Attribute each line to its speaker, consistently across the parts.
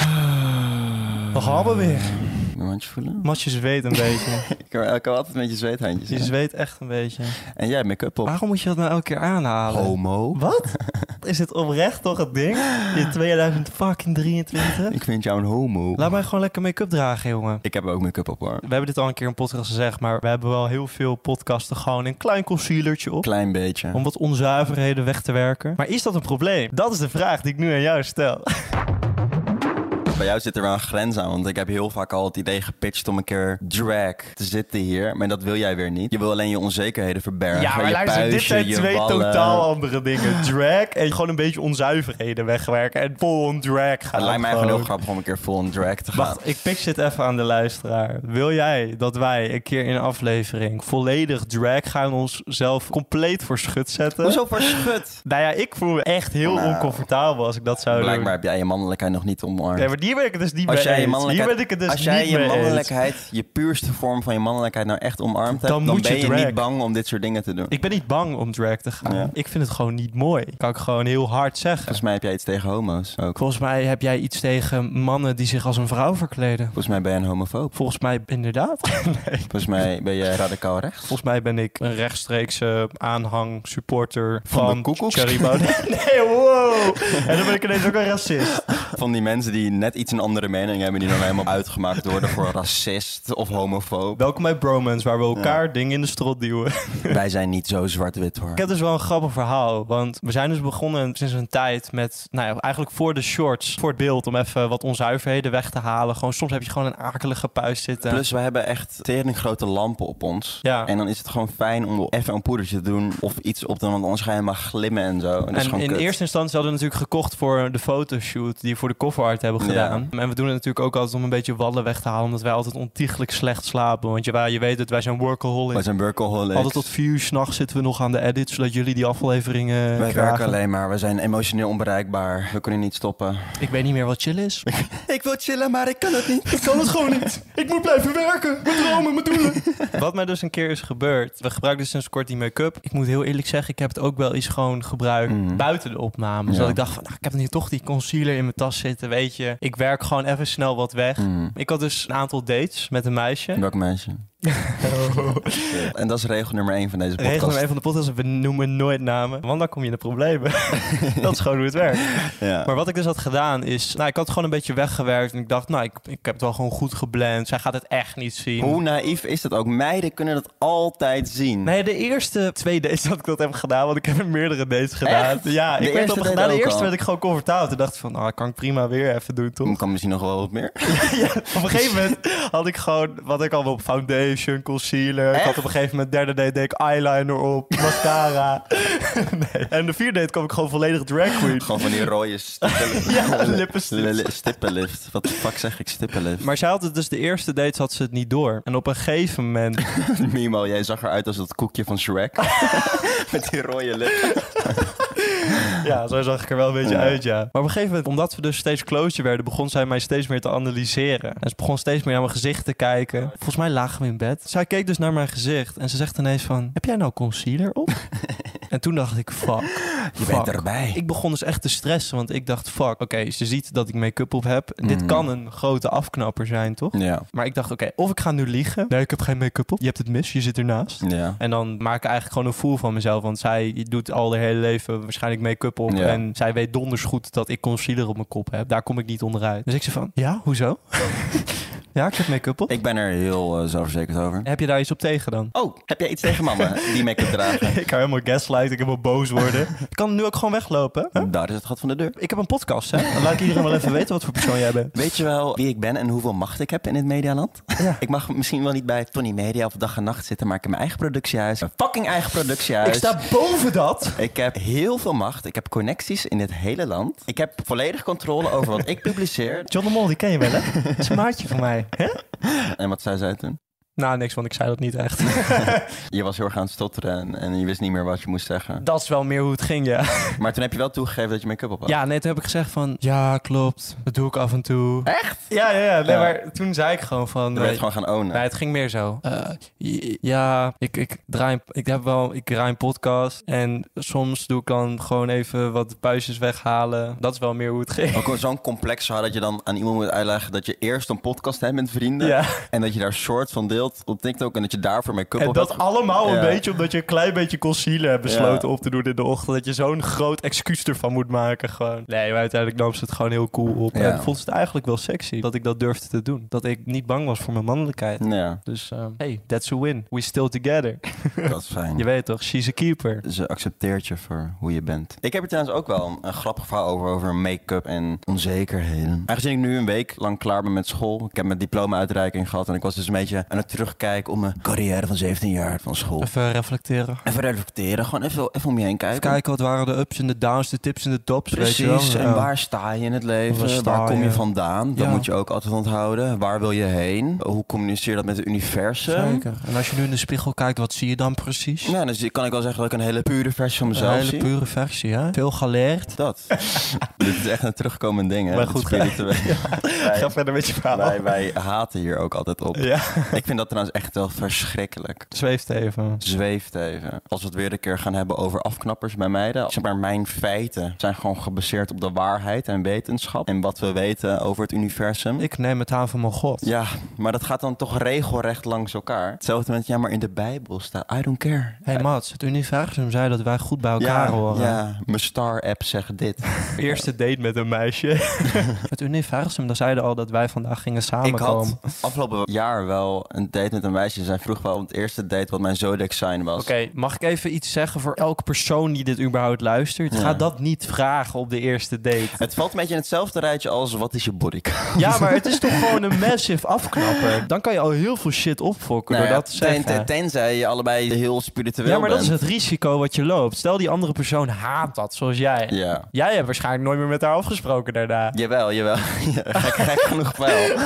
Speaker 1: Eh.
Speaker 2: Daar gaan we weer.
Speaker 1: Een handje voelen?
Speaker 2: Matje zweet een beetje.
Speaker 1: Ik kan, ik kan altijd met je zweethandjes.
Speaker 2: Je
Speaker 1: hè?
Speaker 2: zweet echt een beetje.
Speaker 1: En jij hebt make-up op.
Speaker 2: Waarom moet je dat nou elke keer aanhalen?
Speaker 1: Homo.
Speaker 2: Wat? Is het oprecht toch het ding? In 2023?
Speaker 1: Ik vind jou een homo.
Speaker 2: Laat mij gewoon lekker make-up dragen, jongen.
Speaker 1: Ik heb ook make-up op hoor.
Speaker 2: We hebben dit al een keer in een podcast gezegd, maar we hebben wel heel veel podcasten gewoon een klein concealertje op.
Speaker 1: Klein beetje.
Speaker 2: Om wat onzuiverheden weg te werken. Maar is dat een probleem? Dat is de vraag die ik nu aan jou stel.
Speaker 1: Bij jou zit er wel een grens aan, want ik heb heel vaak al het idee gepitcht om een keer drag te zitten hier. Maar dat wil jij weer niet. Je wil alleen je onzekerheden verbergen.
Speaker 2: Ja, maar
Speaker 1: je
Speaker 2: luister, dit
Speaker 1: puistje,
Speaker 2: zijn
Speaker 1: je
Speaker 2: twee
Speaker 1: wallen.
Speaker 2: totaal andere dingen. Drag en gewoon een beetje onzuiverheden wegwerken. En full-on drag gaan.
Speaker 1: Het lijkt mij
Speaker 2: gewoon.
Speaker 1: gewoon heel grappig om een keer vol on drag te gaan.
Speaker 2: Wacht, ik pitch dit even aan de luisteraar. Wil jij dat wij een keer in een aflevering volledig drag gaan onszelf compleet voor schut zetten?
Speaker 1: Hoezo voor schut?
Speaker 2: Nou ja, ik voel me echt heel
Speaker 1: Nou,
Speaker 2: oncomfortabel als ik dat zou doen.
Speaker 1: Blijkbaar heb jij je mannelijkheid nog niet omarmd.
Speaker 2: Nee, maar die ben ik het dus niet mee
Speaker 1: Als jij, je
Speaker 2: eens. Hier ben
Speaker 1: mannelijkheid,
Speaker 2: ik het dus
Speaker 1: als jij
Speaker 2: niet
Speaker 1: je
Speaker 2: mee eens.
Speaker 1: mannelijkheid, je puurste vorm van je mannelijkheid nou echt omarmd hebt,
Speaker 2: Dan
Speaker 1: dan,
Speaker 2: moet je
Speaker 1: ben je,
Speaker 2: drag.
Speaker 1: niet bang om dit soort dingen te doen.
Speaker 2: Ik ben niet bang om drag te gaan.
Speaker 1: Ja.
Speaker 2: Ik vind het gewoon niet mooi. Kan ik gewoon heel hard zeggen.
Speaker 1: Volgens mij heb jij iets tegen homo's ook.
Speaker 2: Volgens mij heb jij iets tegen mannen die zich als een vrouw verkleden.
Speaker 1: Volgens mij ben je een homofoob.
Speaker 2: Volgens mij inderdaad. nee.
Speaker 1: Volgens mij ben jij radicaal rechts.
Speaker 2: Volgens mij ben ik een rechtstreekse aanhang, supporter
Speaker 1: Van de
Speaker 2: van,
Speaker 1: koekoeks?
Speaker 2: Cherry Baudet. nee, wow. En dan ben ik ineens ook een racist.
Speaker 1: Van die mensen die net iets een andere mening hebben, die dan helemaal uitgemaakt worden voor racist of homofoob.
Speaker 2: Welkom bij Bromance, waar we elkaar dingen in de strot duwen.
Speaker 1: Wij zijn niet zo zwart-wit hoor.
Speaker 2: Ik heb dus wel een grappig verhaal. Want we zijn dus begonnen sinds een tijd met, nou ja, eigenlijk voor de shorts, voor het beeld, om even wat onzuiverheden weg te halen. Gewoon, soms heb je gewoon een akelige puist zitten.
Speaker 1: Plus, we hebben echt tering grote lampen op ons.
Speaker 2: Ja.
Speaker 1: En dan is het gewoon fijn om even een poedertje te doen of iets op te doen, want anders ga je maar glimmen en zo. En, dat is
Speaker 2: En
Speaker 1: gewoon
Speaker 2: in
Speaker 1: kut.
Speaker 2: eerste instantie hadden we natuurlijk gekocht voor de fotoshoot die we voor de cover art hebben gedaan. En we doen het natuurlijk ook altijd om een beetje wallen weg te halen, omdat wij altijd ontiegelijk slecht slapen. Want je, je weet dat wij zijn workaholic.
Speaker 1: Wij zijn workaholics.
Speaker 2: Altijd tot vier uur s'nachts zitten we nog aan de edit, zodat jullie die afleveringen
Speaker 1: Wij
Speaker 2: krijgen.
Speaker 1: werken alleen maar, we zijn emotioneel onbereikbaar. We kunnen niet stoppen.
Speaker 2: Ik weet niet meer wat chill is.
Speaker 1: Ik wil chillen, maar ik kan het niet.
Speaker 2: Ik kan het gewoon niet. Ik moet blijven werken. Mijn dromen, mijn doelen. Wat mij dus een keer is gebeurd. We gebruiken dus sinds kort die make-up. Ik moet heel eerlijk zeggen, ik heb het ook wel eens gewoon gebruikt
Speaker 1: Mhm.
Speaker 2: buiten de opname.
Speaker 1: Ja.
Speaker 2: Zodat ik dacht van, nou, ik heb nu toch die concealer in mijn tas zitten, weet je. Ik werk gewoon even snel wat weg.
Speaker 1: Mm.
Speaker 2: Ik had dus een aantal dates met een meisje.
Speaker 1: Welk meisje? En dat is regel nummer 1 van deze podcast.
Speaker 2: Regel nummer één van de podcast, we noemen nooit namen. Want dan kom je in de problemen. dat is gewoon hoe het werkt.
Speaker 1: Ja.
Speaker 2: Maar wat ik dus had gedaan is... Nou, ik had het gewoon een beetje weggewerkt. En ik dacht, nou, ik, ik heb het wel gewoon goed geblend. Zij gaat het echt niet zien.
Speaker 1: Hoe naïef is dat ook? Meiden kunnen dat altijd zien.
Speaker 2: Nee, de eerste twee dates dat ik dat heb gedaan, want ik heb meerdere dates gedaan. Ja,
Speaker 1: De
Speaker 2: ik werd
Speaker 1: eerste
Speaker 2: op,
Speaker 1: date
Speaker 2: na de
Speaker 1: ook
Speaker 2: eerste
Speaker 1: al.
Speaker 2: werd ik gewoon comfortabel. Toen dacht ik van, ah, kan ik prima weer even doen, toch?
Speaker 1: Dan Hmm, kan misschien nog wel wat meer.
Speaker 2: ja, op een gegeven moment had ik gewoon, wat ik al op foundation, concealer. Ik had op een gegeven moment, derde date deed ik eyeliner op, mascara. nee. En de vierde date kwam ik gewoon volledig drag queen.
Speaker 1: Gewoon van die rode stippen.
Speaker 2: Ja, lippenstift.
Speaker 1: Li- li- Stippenlift. Wat de fuck zeg ik? Stippenlift.
Speaker 2: Maar zij had het dus de eerste dates had ze het niet door. En op een gegeven moment
Speaker 1: Mimo, jij zag eruit als dat koekje van Shrek. Met die rode lip.
Speaker 2: Ja, zo zag ik er wel een beetje
Speaker 1: Ja.
Speaker 2: uit, ja. Maar op een gegeven moment, omdat we dus steeds closer werden, begon zij mij steeds meer te analyseren. En ze begon steeds meer naar mijn gezicht te kijken. Volgens mij lagen we in bed. Zij keek dus naar mijn gezicht en ze zegt ineens van, heb jij nou concealer op? en toen dacht ik, fuck.
Speaker 1: Je
Speaker 2: Fuck.
Speaker 1: bent erbij.
Speaker 2: Ik begon dus echt te stressen, want ik dacht, fuck, oké, ze ziet dat ik make-up op heb. Dit
Speaker 1: Mhm.
Speaker 2: kan een grote afknapper zijn, toch?
Speaker 1: Ja.
Speaker 2: Maar ik dacht, oké, of ik ga nu liegen. Nee, ik heb geen make-up op. Je hebt het mis, je zit ernaast.
Speaker 1: Ja.
Speaker 2: En dan maak ik eigenlijk gewoon een fool van mezelf. Want zij doet al haar hele leven waarschijnlijk make-up op.
Speaker 1: Ja.
Speaker 2: En zij weet donders goed dat ik concealer op mijn kop heb. Daar kom ik niet onderuit. Dus ik zei van, ja, hoezo? ja, ik heb make-up op.
Speaker 1: Ik ben er heel eh, zelfverzekerd over.
Speaker 2: Heb je daar iets op tegen dan?
Speaker 1: Oh, heb jij iets tegen mannen die make-up dragen?
Speaker 2: ik ga helemaal gaslight, ik helemaal boos worden. ik kan nu ook gewoon weglopen. hè?
Speaker 1: Daar is het gat van de deur.
Speaker 2: Ik heb een podcast, hè? Dan laat ik iedereen wel even weten wat voor persoon jij bent.
Speaker 1: Weet je wel wie ik ben en hoeveel macht ik heb in dit medialand?
Speaker 2: Ja.
Speaker 1: Ik mag misschien wel niet bij Tony Media of Dag en Nacht zitten, maar ik heb mijn eigen productiehuis. Mijn fucking eigen productiehuis.
Speaker 2: Ik sta boven dat.
Speaker 1: Ik heb heel veel macht. Ik heb connecties in dit hele land. Ik heb volledig controle over wat ik publiceer.
Speaker 2: John de Mol, die ken je wel, hè? Dat is een maatje van mij. Hè?
Speaker 1: En wat zei zij toen?
Speaker 2: Nou, niks, want ik zei dat niet echt.
Speaker 1: Je was heel erg aan het stotteren en, en je wist niet meer wat je moest zeggen.
Speaker 2: dat is wel meer hoe het ging, ja.
Speaker 1: Maar toen heb je wel toegegeven dat je make-up op had.
Speaker 2: Ja, nee, toen heb ik gezegd van... Ja, klopt. Dat doe ik af en toe. Echt? Ja, ja, ja. Nee,
Speaker 1: Ja.
Speaker 2: maar toen zei ik gewoon van...
Speaker 1: Je werd
Speaker 2: eh,
Speaker 1: gewoon gaan ownen.
Speaker 2: Nee, het ging meer zo. Eh, j- ja, ik, ik, draai een, ik heb wel ik draai een podcast. En soms doe ik dan gewoon even wat puistjes weghalen. Dat is wel meer hoe het ging.
Speaker 1: Ook wel zo'n complex verhaal dat je dan aan iemand moet uitleggen dat je eerst een podcast hebt met vrienden.
Speaker 2: Ja,
Speaker 1: En dat je daar shorts van deelt op TikTok en dat je daarvoor make-up
Speaker 2: en
Speaker 1: op
Speaker 2: dat
Speaker 1: hebt.
Speaker 2: allemaal een
Speaker 1: Ja.
Speaker 2: beetje omdat je een klein beetje concealer hebt besloten
Speaker 1: Ja.
Speaker 2: op te doen in de ochtend. Dat je zo'n groot excuus ervan moet maken gewoon. Nee, maar uiteindelijk nam ze het gewoon heel cool op.
Speaker 1: Ja.
Speaker 2: En vond ze het eigenlijk wel sexy dat ik dat durfde te doen. Dat ik niet bang was voor mijn mannelijkheid.
Speaker 1: Ja,
Speaker 2: Dus ehm, hey, that's a win. We still together.
Speaker 1: Hmm. dat is fijn.
Speaker 2: Je weet toch, she's a keeper.
Speaker 1: Ze accepteert je voor hoe je bent. Ik heb er trouwens ook wel een, een grappig verhaal over, over make-up en onzekerheden. Aangezien ik nu een week lang klaar ben met school, ik heb mijn diploma-uitreiking gehad en ik was dus een beetje aan het terugkijken op mijn carrière van 17 jaar van school.
Speaker 2: Even eh, reflecteren.
Speaker 1: Even reflecteren, gewoon even, even om je heen kijken.
Speaker 2: Even kijken, wat waren de ups en de downs, de tips en de tops, weet
Speaker 1: Precies,
Speaker 2: je wel.
Speaker 1: en
Speaker 2: Ja.
Speaker 1: waar sta je in het
Speaker 2: Waar
Speaker 1: leven?
Speaker 2: sta
Speaker 1: Waar kom
Speaker 2: je?
Speaker 1: je vandaan? Dat
Speaker 2: Ja.
Speaker 1: moet je ook altijd onthouden. Waar wil je heen? Hoe communiceer je dat met het universum?
Speaker 2: Zeker. En als je nu in de spiegel kijkt, wat zie je dan precies?
Speaker 1: Ja, dus kan ik wel zeggen dat ik een hele pure versie van
Speaker 2: een
Speaker 1: mezelf
Speaker 2: hele
Speaker 1: zie.
Speaker 2: pure versie, hè? Veel geleerd.
Speaker 1: Dat. Dit is echt een terugkomend ding, hè?
Speaker 2: Maar
Speaker 1: Dit
Speaker 2: goed,
Speaker 1: spirituele.
Speaker 2: Ga verder met je verhaal.
Speaker 1: wij, wij, wij haten hier ook altijd op.
Speaker 2: Ja.
Speaker 1: Ik vind dat trouwens echt wel verschrikkelijk.
Speaker 2: Zweeft even.
Speaker 1: Zweeft even. Als we het weer een keer gaan hebben over afknappers bij meiden. Zeg maar, mijn feiten zijn gewoon gebaseerd op de waarheid en wetenschap. En wat we weten over het universum.
Speaker 2: Ik neem het aan van mijn god.
Speaker 1: Hm? Ja, maar dat gaat dan toch regelrecht langs elkaar. Hetzelfde met, ja, maar in de Bijbel staat, I don't care.
Speaker 2: Hé hey Mats, het universum zei dat wij goed bij elkaar
Speaker 1: ja,
Speaker 2: horen.
Speaker 1: ja, mijn star-app zegt dit.
Speaker 2: Eerste date met een meisje. het universum, daar zeiden al dat wij vandaag gingen
Speaker 1: Ik
Speaker 2: samenkomen.
Speaker 1: had afgelopen jaar wel een date met een meisje. Zij vroeg wel op het eerste date wat mijn zodiac sign was.
Speaker 2: Oké, mag ik even iets zeggen voor elke persoon die dit überhaupt luistert?
Speaker 1: Ja.
Speaker 2: Ga dat niet vragen op de eerste date.
Speaker 1: Het valt een beetje in hetzelfde rijtje als wat is je bodycount?
Speaker 2: Ja, maar het is toch gewoon een massive afknapper. Dan kan je al heel veel shit opfokken
Speaker 1: Nou
Speaker 2: door
Speaker 1: ja,
Speaker 2: dat te zeggen.
Speaker 1: ten- ten- tenzij je allebei heel spiritueel
Speaker 2: ja, maar dat is
Speaker 1: bent.
Speaker 2: het risico wat je loopt. Stel die andere persoon haat dat, zoals jij.
Speaker 1: Ja.
Speaker 2: Jij hebt waarschijnlijk nooit meer met haar afgesproken daarna.
Speaker 1: Jawel, jawel. Ja, gek, gek genoeg wel.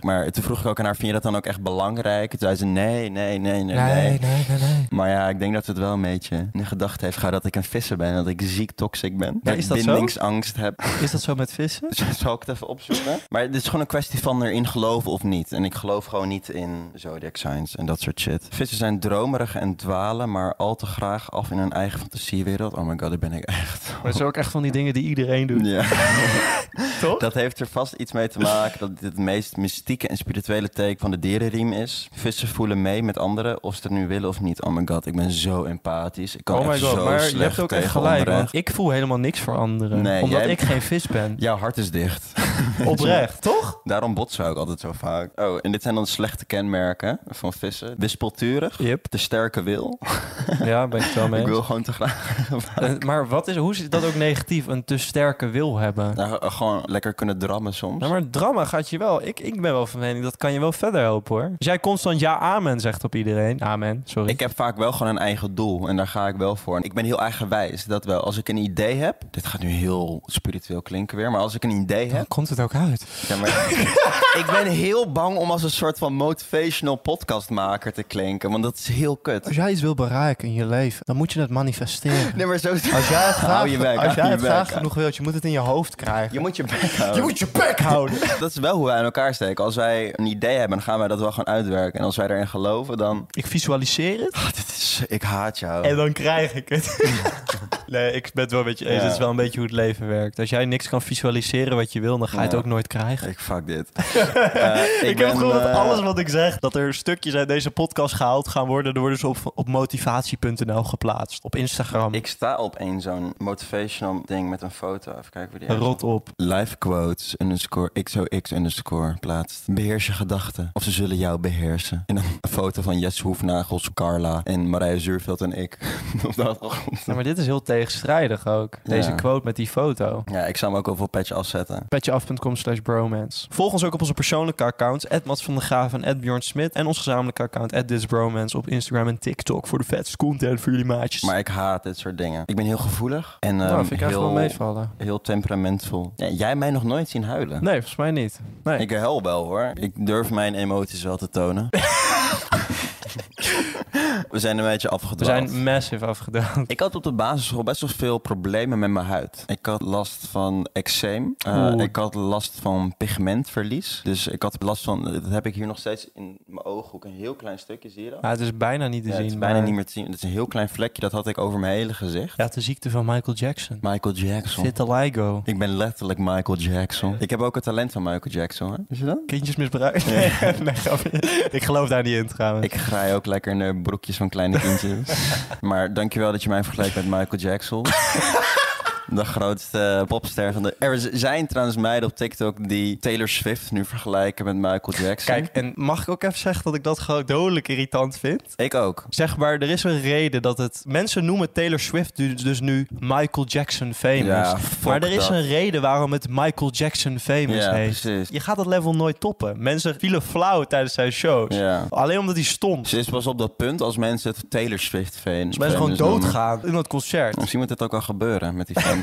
Speaker 1: Maar toen vroeg ik ook aan haar, vind je dat dan ook echt belangrijk? Toen zei ze, nee, nee, nee, nee, nee.
Speaker 2: nee, nee. nee.
Speaker 1: Maar ja, ik denk dat ze het wel een beetje in gedachten heeft gehad dat ik een visser ben. Dat ik ziek toxic ben. Dat
Speaker 2: is
Speaker 1: ik
Speaker 2: dat zo?
Speaker 1: bindingsangst heb.
Speaker 2: Is dat zo met vissen?
Speaker 1: Zal ik het even opzoeken? Maar het is gewoon een kwestie van erin geloven of niet. En ik geloof gewoon niet in zodiac signs en dat soort shit. Vissen zijn dromerig en dwalen, maar al te graag af in hun eigen fantasiewereld. Oh my god, daar ben ik echt.
Speaker 2: Maar het is ook echt van die dingen die iedereen doet,
Speaker 1: Ja.
Speaker 2: toch?
Speaker 1: Dat heeft er vast iets mee te maken dat dit het meest mystieke en spirituele teken van de dierenriem is. Vissen voelen mee met anderen, of ze het nu willen of niet. Oh my god, ik ben zo empathisch. Ik kan
Speaker 2: oh my
Speaker 1: echt
Speaker 2: god,
Speaker 1: zo
Speaker 2: maar
Speaker 1: slecht
Speaker 2: je hebt ook echt
Speaker 1: tegen
Speaker 2: gelijk.
Speaker 1: onrecht.
Speaker 2: Want ik voel helemaal niks voor anderen.
Speaker 1: Nee,
Speaker 2: omdat
Speaker 1: jij-
Speaker 2: ik geen vis ben.
Speaker 1: Jouw hart is dicht.
Speaker 2: Oprecht, toch?
Speaker 1: Daarom botsen we ook altijd zo vaak. Oh, en dit zijn dan slechte kenmerken van vissen. Wispelturig,
Speaker 2: Yep.
Speaker 1: de sterke wil.
Speaker 2: Ja, ben ik het wel mee.
Speaker 1: Ik
Speaker 2: eens.
Speaker 1: wil gewoon te graag.
Speaker 2: Eh, Maar wat is, hoe zit dat ook negatief? Een te sterke wil hebben.
Speaker 1: Nou, eh, gewoon lekker kunnen drammen soms.
Speaker 2: Nou, maar het drama gaat je wel. Ik, ik ben wel van mening dat kan je wel verder helpen hoor. Als jij constant ja, amen zegt op iedereen. Amen, sorry.
Speaker 1: Ik heb vaak wel gewoon een eigen doel en daar ga ik wel voor. En ik ben heel eigenwijs, dat wel. Als ik een idee heb, dit gaat nu heel spiritueel klinken weer, maar als ik een idee heb,
Speaker 2: komt het ook uit.
Speaker 1: Ja, maar ik ben heel bang om als een soort van motivational podcastmaker te klinken, want dat is heel kut.
Speaker 2: Als jij iets wil bereiken in je leven, dan moet je het manifesteren.
Speaker 1: Nee, maar zo
Speaker 2: Als jij het
Speaker 1: Hou je bek, hou je bek.
Speaker 2: genoeg wilt, je moet het in je hoofd krijgen.
Speaker 1: Je moet je bek houden.
Speaker 2: Je moet je bek houden.
Speaker 1: Dat is wel hoe wij aan elkaar steken. Als wij een idee hebben, dan gaan wij dat wel gewoon uitwerken. En als wij erin geloven, dan...
Speaker 2: Ik visualiseer het
Speaker 1: Ah, dit is... Ik haat jou.
Speaker 2: en dan krijg ik het. nee, ik ben het wel een beetje eens.
Speaker 1: Ja.
Speaker 2: Dat is wel een beetje hoe het leven werkt. Als jij niks kan visualiseren wat je wil, dan ga je het
Speaker 1: Ja.
Speaker 2: ook nooit krijgen.
Speaker 1: Ik fuck dit. Eh, ik
Speaker 2: Ik, heb
Speaker 1: ben,
Speaker 2: het gevoel dat
Speaker 1: eh,
Speaker 2: alles wat ik zeg, dat er stukjes uit deze podcast gehaald gaan worden. Dan worden ze op, op motivatie.nl geplaatst. Op Instagram.
Speaker 1: Ik sta op een zo'n motivational ding met een foto. Even kijken wie die is.
Speaker 2: Rot op.
Speaker 1: Life quotes underscore xox underscore plaatst. Beheers je gedachten. Of ze zullen jou beheersen. En dan een foto van Jesse Hoefnagels, Carla en Marije Zuurveld en ik. Op de achtergrond.
Speaker 2: Ja, maar dit is heel tegenstrijdig ook. Deze
Speaker 1: Ja.
Speaker 2: quote met die foto.
Speaker 1: Ja, ik zou hem ook wel voor patch afzetten.
Speaker 2: Petjeaf.com slash bromance. Volg ons ook op onze persoonlijke accounts. Mats van der Graaf en Bjorn Smit. En ons gezamenlijke account thisbromance op Instagram en TikTok. Voor de vetste content voor jullie maatjes.
Speaker 1: Maar ik haat dit soort dingen. Ik ben heel gevoelig. En
Speaker 2: nou,
Speaker 1: ehm,
Speaker 2: vind ik
Speaker 1: heel,
Speaker 2: eigenlijk wel meevallen.
Speaker 1: heel temperamentvol. Ja, jij mij nog nooit zien huilen.
Speaker 2: Nee, volgens mij niet. Nee.
Speaker 1: Ik huil wel hoor. Ik durf mijn emoties wel te tonen. We zijn een beetje
Speaker 2: We
Speaker 1: afgedwaald.
Speaker 2: zijn massive afgedaan.
Speaker 1: Ik had op de basisschool best wel veel problemen met mijn huid. Ik had last van eczeem. Eh,
Speaker 2: Oeh.
Speaker 1: ik had last van pigmentverlies. Dus ik had last van, dat heb ik hier nog steeds in mijn ooghoek. Een heel klein stukje, zie je dat?
Speaker 2: Ja, het is bijna niet te
Speaker 1: Ja,
Speaker 2: zien.
Speaker 1: het is bijna
Speaker 2: maar-
Speaker 1: niet meer te zien. Het is een heel klein vlekje, dat had ik over mijn hele gezicht.
Speaker 2: Ja, het is de ziekte van Michael Jackson.
Speaker 1: Michael Jackson.
Speaker 2: Vitiligo.
Speaker 1: Ik ben letterlijk Michael Jackson. Ik heb ook het talent van Michael Jackson, hè? Is je dat?
Speaker 2: Kindjesmisbruik? nee, grapje. ik geloof daar niet in trouwens.
Speaker 1: Ik graai ook lekker in eh, broekjes van kleine kindjes. maar dankjewel dat je mij vergelijkt met Michael Jackson. De grootste eh, popster van de... Er z- zijn trouwens meiden op TikTok die Taylor Swift nu vergelijken met Michael Jackson.
Speaker 2: Kijk, en mag ik ook even zeggen dat ik dat gewoon dodelijk irritant vind?
Speaker 1: Ik ook.
Speaker 2: Zeg maar, er is een reden dat het... Mensen noemen Taylor Swift du- dus nu Michael Jackson famous.
Speaker 1: Ja, fuck
Speaker 2: maar er is
Speaker 1: dat.
Speaker 2: een reden waarom het Michael Jackson famous
Speaker 1: Ja,
Speaker 2: heet.
Speaker 1: precies.
Speaker 2: Je gaat dat level nooit toppen. Mensen vielen flauw tijdens zijn shows.
Speaker 1: Ja.
Speaker 2: Alleen omdat hij stond.
Speaker 1: Ze is pas op dat punt als mensen het Taylor Swift fan.
Speaker 2: Dus mensen gewoon doodgaan in dat concert.
Speaker 1: Misschien moet dit ook wel gebeuren met die fans.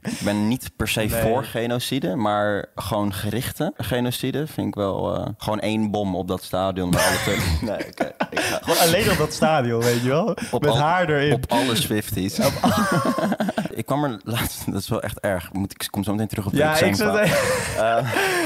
Speaker 1: ik ben niet per se
Speaker 2: Nee.
Speaker 1: voor genocide, maar gewoon gerichte genocide vind ik wel... eh, gewoon één bom op dat stadion. bij alle tele- nee, oké. Ik ga-
Speaker 2: Gewoon alleen op dat stadion, weet je wel? Met
Speaker 1: al-
Speaker 2: haar erin.
Speaker 1: Op alle Swifties. ik kwam er laatst, dat is wel echt erg. Moet, ik kom zo meteen terug op
Speaker 2: ja,
Speaker 1: de
Speaker 2: ik zat...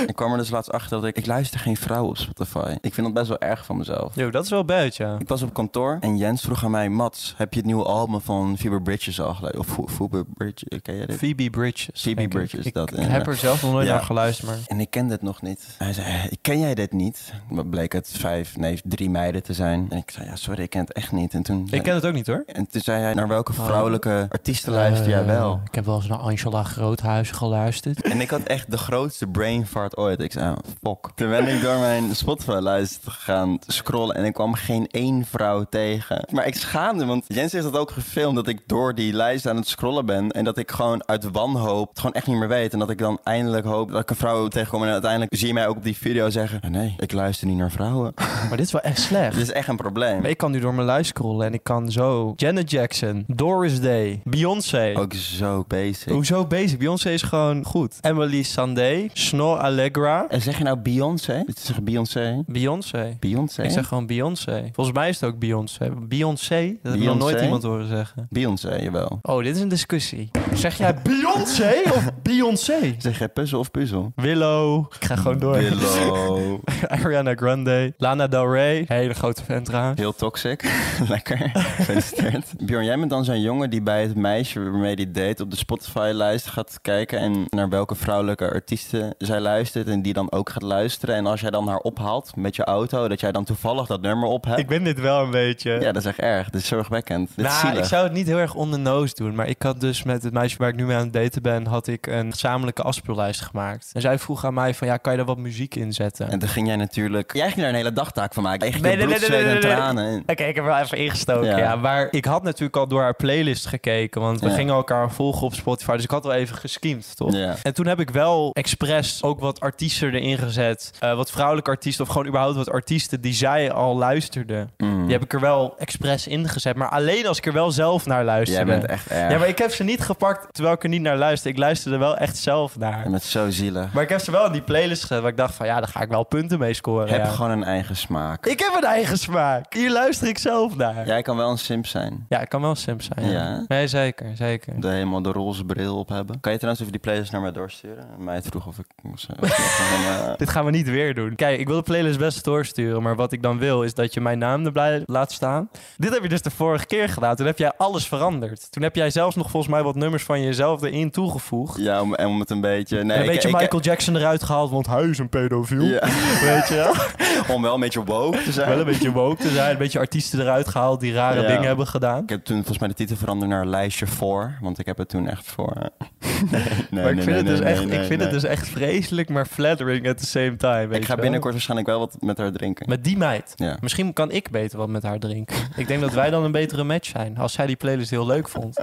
Speaker 1: Ik kwam er dus laatst achter dat ik, ik luister geen vrouwen op Spotify. Ik vind dat best wel erg van mezelf.
Speaker 2: Yo, dat is wel buit, ja.
Speaker 1: Ik was op kantoor en Jens vroeg aan mij, Mats, heb je het nieuwe album van Phoebe Bridges al geluisterd? Of Pho- Phoebe Bridges, ken jij dit?
Speaker 2: Phoebe nou Bridges.
Speaker 1: Phoebe
Speaker 2: denk ik.
Speaker 1: Bridges,
Speaker 2: Ik,
Speaker 1: dat,
Speaker 2: ik
Speaker 1: ja.
Speaker 2: heb er zelf nog nooit
Speaker 1: Ja.
Speaker 2: naar geluisterd, maar...
Speaker 1: En ik kende het nog niet. Hij zei, "Eh, ken jij dit niet? Maar bleek het vijf, nee, drie meiden te zijn. En ik zei, ja, sorry, ik ken het echt niet. En toen,
Speaker 2: Ik ken het ook niet, hoor.
Speaker 1: en toen zei hij, naar welke
Speaker 2: Oh.
Speaker 1: vrouwelijke artiesten luister jij wel?
Speaker 2: Ik heb wel eens naar Angela Groothuis geluisterd.
Speaker 1: En ik had echt de grootste brain fart ooit. Ik zei, oh, fuck. Toen ben ik door mijn Spotify-lijst gaan scrollen en ik kwam geen één vrouw tegen. Maar ik schaamde, want Jens heeft dat ook gefilmd, dat ik door die lijst aan het scrollen ben. En dat ik gewoon uit wanhoop het gewoon echt niet meer weet. En dat ik dan eindelijk hoop dat ik een vrouw tegenkom. En uiteindelijk zie je mij ook op die video zeggen, "Ah, nee, ik luister niet naar vrouwen.
Speaker 2: Maar dit is wel echt
Speaker 1: Dit
Speaker 2: slecht.
Speaker 1: is echt een probleem.
Speaker 2: Maar ik kan nu door mijn lijst scrollen en ik kan zo... Janet Jackson, Doris Day, Beyoncé.
Speaker 1: Ook zo basic.
Speaker 2: Hoezo bezig? Beyoncé is gewoon goed. Emily Sandé, Snor Allegra,
Speaker 1: En zeg je nou Beyoncé? Dit is Beyoncé?
Speaker 2: Beyoncé.
Speaker 1: Beyoncé?
Speaker 2: Ik zeg gewoon Beyoncé. Volgens mij is het ook Beyoncé. Beyoncé? Dat heb ik nog nooit
Speaker 1: Beyoncé?
Speaker 2: iemand horen zeggen.
Speaker 1: Beyoncé, jawel.
Speaker 2: Oh, dit is een discussie. Zeg jij Beyoncé of Beyoncé?
Speaker 1: Zeg jij puzzel of puzzel?
Speaker 2: Willow. Ik ga gewoon door.
Speaker 1: Willow.
Speaker 2: Ariana Grande. Lana Del Rey. Hele grote fan trouwens.
Speaker 1: Heel toxic. Lekker. Gefeliciteerd. Bjorn, jij bent dan zo'n jongen die bij het meisje waarmee hij date op de Spotify-lijst gaat kijken en naar welke vrouwelijke artiesten zij luistert en die dan ook gaat luisteren. En als jij dan haar ophaalt met je auto, dat jij dan toevallig dat nummer op hebt.
Speaker 2: Ik ben dit wel een beetje...
Speaker 1: Ja, dat is echt erg. Dit is zorgwekkend. Dit is
Speaker 2: Nou,
Speaker 1: zielig.
Speaker 2: ik zou het niet heel erg on the nose doen. Maar ik had dus met het meisje waar ik nu mee aan het daten ben... had ik een gezamenlijke afspeellijst gemaakt. En zij vroeg aan mij van... ja, kan je daar wat muziek in zetten?
Speaker 1: En toen ging jij natuurlijk... Jij ging daar een hele dagtaak van maken. Jij ging
Speaker 2: Nee,
Speaker 1: door
Speaker 2: nee,
Speaker 1: bloed,
Speaker 2: nee, nee,
Speaker 1: zweet en
Speaker 2: nee, nee.
Speaker 1: tranen. in.
Speaker 2: Oké, ik heb er wel even ingestoken,
Speaker 1: Ja.
Speaker 2: ja. Maar ik had natuurlijk al door haar playlist gekeken. Want we
Speaker 1: Ja.
Speaker 2: gingen elkaar volgen op Spotify. Dus ik had wel even geskiemd, toch?
Speaker 1: Ja.
Speaker 2: En toen heb ik wel expres ook wat artiesten erin gezet. Eh, wat vrouwelijke artiesten of gewoon überhaupt wat artiesten die zij al luisterden.
Speaker 1: Mm.
Speaker 2: Die heb ik er wel expres in gezet. Maar alleen als ik er wel zelf naar
Speaker 1: Jij
Speaker 2: luisterde.
Speaker 1: bent echt erg.
Speaker 2: Ja, maar ik heb ze niet gepakt terwijl ik er niet naar luisterde. Ik luisterde wel echt zelf naar.
Speaker 1: Je bent zo zielig.
Speaker 2: Maar ik heb ze wel in die playlist gezet waar ik dacht van ja, daar ga ik wel punten mee scoren.
Speaker 1: Heb
Speaker 2: ja.
Speaker 1: gewoon een eigen smaak.
Speaker 2: Ik heb een eigen smaak. Hier luister ik zelf naar.
Speaker 1: Jij kan wel een simp zijn.
Speaker 2: Ja, ik kan wel simp zijn. Ja.
Speaker 1: Ja.
Speaker 2: Nee, zeker, zeker.
Speaker 1: De helemaal de roze bril op hebben. Kan je trouwens even die playlist naar mij doorsturen? Mij vroeg of ik... of ze- of ik gewoon, eh,
Speaker 2: Dit gaan we niet weer doen. Kijk, ik wil de playlist best doorsturen, maar wat ik dan wil is dat je mijn naam erbij laat staan. Dit heb je dus de vorige keer gedaan. Toen heb jij alles veranderd. Toen heb jij zelfs nog volgens mij wat nummers van jezelf erin toegevoegd.
Speaker 1: ja, om, en om het een beetje... Nee,
Speaker 2: En een
Speaker 1: ik-
Speaker 2: beetje
Speaker 1: ik-
Speaker 2: Michael Jackson eruit gehaald, want hij is een pedofiel.
Speaker 1: Ja,
Speaker 2: Weet je wel?
Speaker 1: om wel een beetje woke te zijn.
Speaker 2: Wel een beetje woke te zijn. Een beetje artiesten eruit gehaald die rare
Speaker 1: Ja.
Speaker 2: dingen hebben gedaan.
Speaker 1: Ik heb toen volgens mij de titel veranderd naar lijstje voor. Want ik heb het toen echt voor... eh, nee, nee,
Speaker 2: maar ik
Speaker 1: nee,
Speaker 2: vind, het,
Speaker 1: nee,
Speaker 2: dus
Speaker 1: nee,
Speaker 2: echt,
Speaker 1: nee,
Speaker 2: ik vind
Speaker 1: nee.
Speaker 2: het dus echt vreselijk, maar flattering at the same time. weet
Speaker 1: Ik
Speaker 2: je
Speaker 1: ga
Speaker 2: wel?
Speaker 1: binnenkort waarschijnlijk wel wat met haar drinken.
Speaker 2: Met die meid.
Speaker 1: Ja.
Speaker 2: Misschien kan ik beter wat met haar drinken. Ik denk dat wij dan een betere match zijn. Als zij die playlist heel leuk vond.